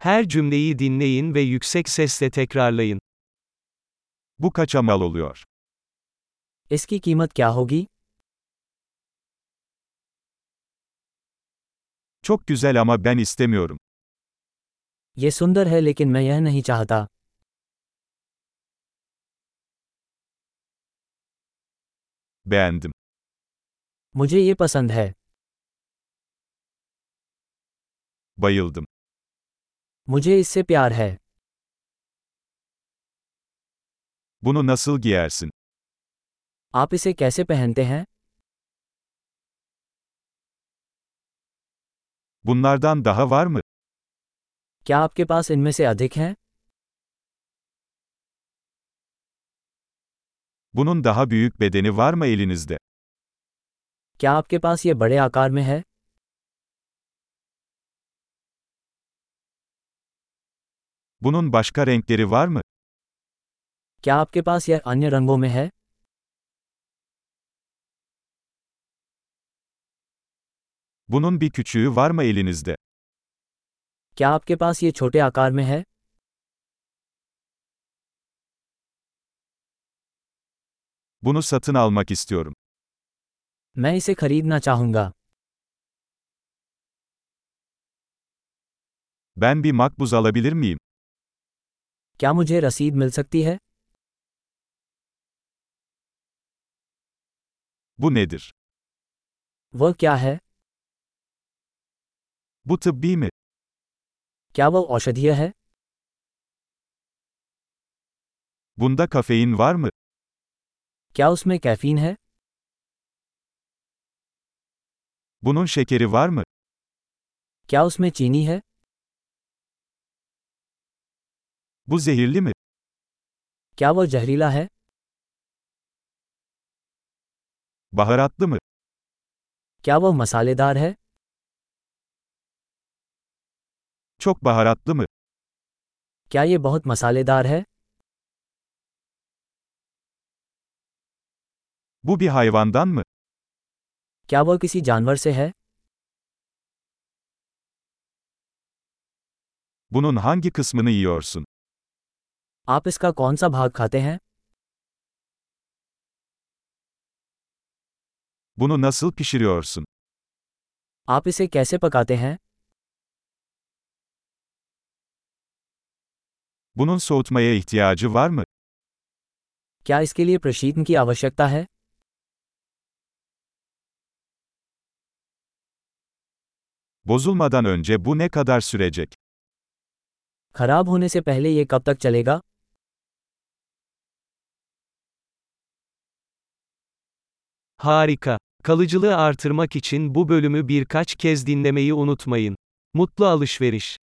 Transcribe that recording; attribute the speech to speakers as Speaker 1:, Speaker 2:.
Speaker 1: Her cümleyi dinleyin ve yüksek sesle tekrarlayın.
Speaker 2: Bu kaça mal oluyor?
Speaker 3: इसकी कीमत क्या होगी
Speaker 2: Çok güzel ama ben istemiyorum.
Speaker 3: ये सुंदर है लेकिन मैं यह नहीं चाहता
Speaker 2: Beğendim.
Speaker 3: मुझे ये पसंद है
Speaker 2: Bayıldım.
Speaker 3: मुझे इससे प्यार है
Speaker 2: Bunu nasıl giyersin?
Speaker 3: आप इसे कैसे पहनते हैं
Speaker 2: Bunlardan daha var mı?
Speaker 3: क्या आपके पास इनमें से अधिक हैं
Speaker 2: Bunun daha büyük bedeni var mı elinizde?
Speaker 3: क्या आपके पास ये बड़े आकार में है
Speaker 2: Bunun başka renkleri var mı?
Speaker 3: क्या आपके पास यह अन्य रंगों में है
Speaker 2: Bunun bir küçüğü var mı elinizde?
Speaker 3: क्या आपके पास ये छोटे आकार में है
Speaker 2: Bunu satın almak istiyorum.
Speaker 3: मैं इसे खरीदना चाहूंगा
Speaker 2: Ben bir makbuz alabilir miyim?
Speaker 3: क्या मुझे रसीद मिल सकती है
Speaker 2: Bu nedir?
Speaker 3: वह क्या है
Speaker 2: Bu tıbbi mi?
Speaker 3: क्या वह औषधीय है
Speaker 2: Bunda kafein var mı?
Speaker 3: क्या उसमें कैफीन है
Speaker 2: Bunun şekeri var mı?
Speaker 3: क्या उसमें चीनी है
Speaker 2: Bu zehirli mi?
Speaker 3: क्या वह जहरीला है
Speaker 2: Baharatlı mı?
Speaker 3: क्या वह मसालेदार है
Speaker 2: Çok baharatlı mı?
Speaker 3: क्या ये बहुत मसालेदार है
Speaker 2: Bu bir hayvandan mı?
Speaker 3: क्या वह किसी जानवर से है
Speaker 2: Bunun hangi kısmını yiyorsun?
Speaker 3: आप इसका कौन सा भाग खाते हैं
Speaker 2: Bunu nasıl pişiriyorsun?
Speaker 3: आप इसे कैसे पकाते हैं
Speaker 2: Bunun soğutmaya ihtiyacı var mı?
Speaker 3: क्या इसके लिए प्रशीतन की आवश्यकता है
Speaker 2: Bozulmadan önce bu ne kadar sürecek?
Speaker 3: खराब होने से पहले ये कब तक चलेगा
Speaker 1: Harika. Kalıcılığı artırmak için bu bölümü birkaç kez dinlemeyi unutmayın. Mutlu alışveriş.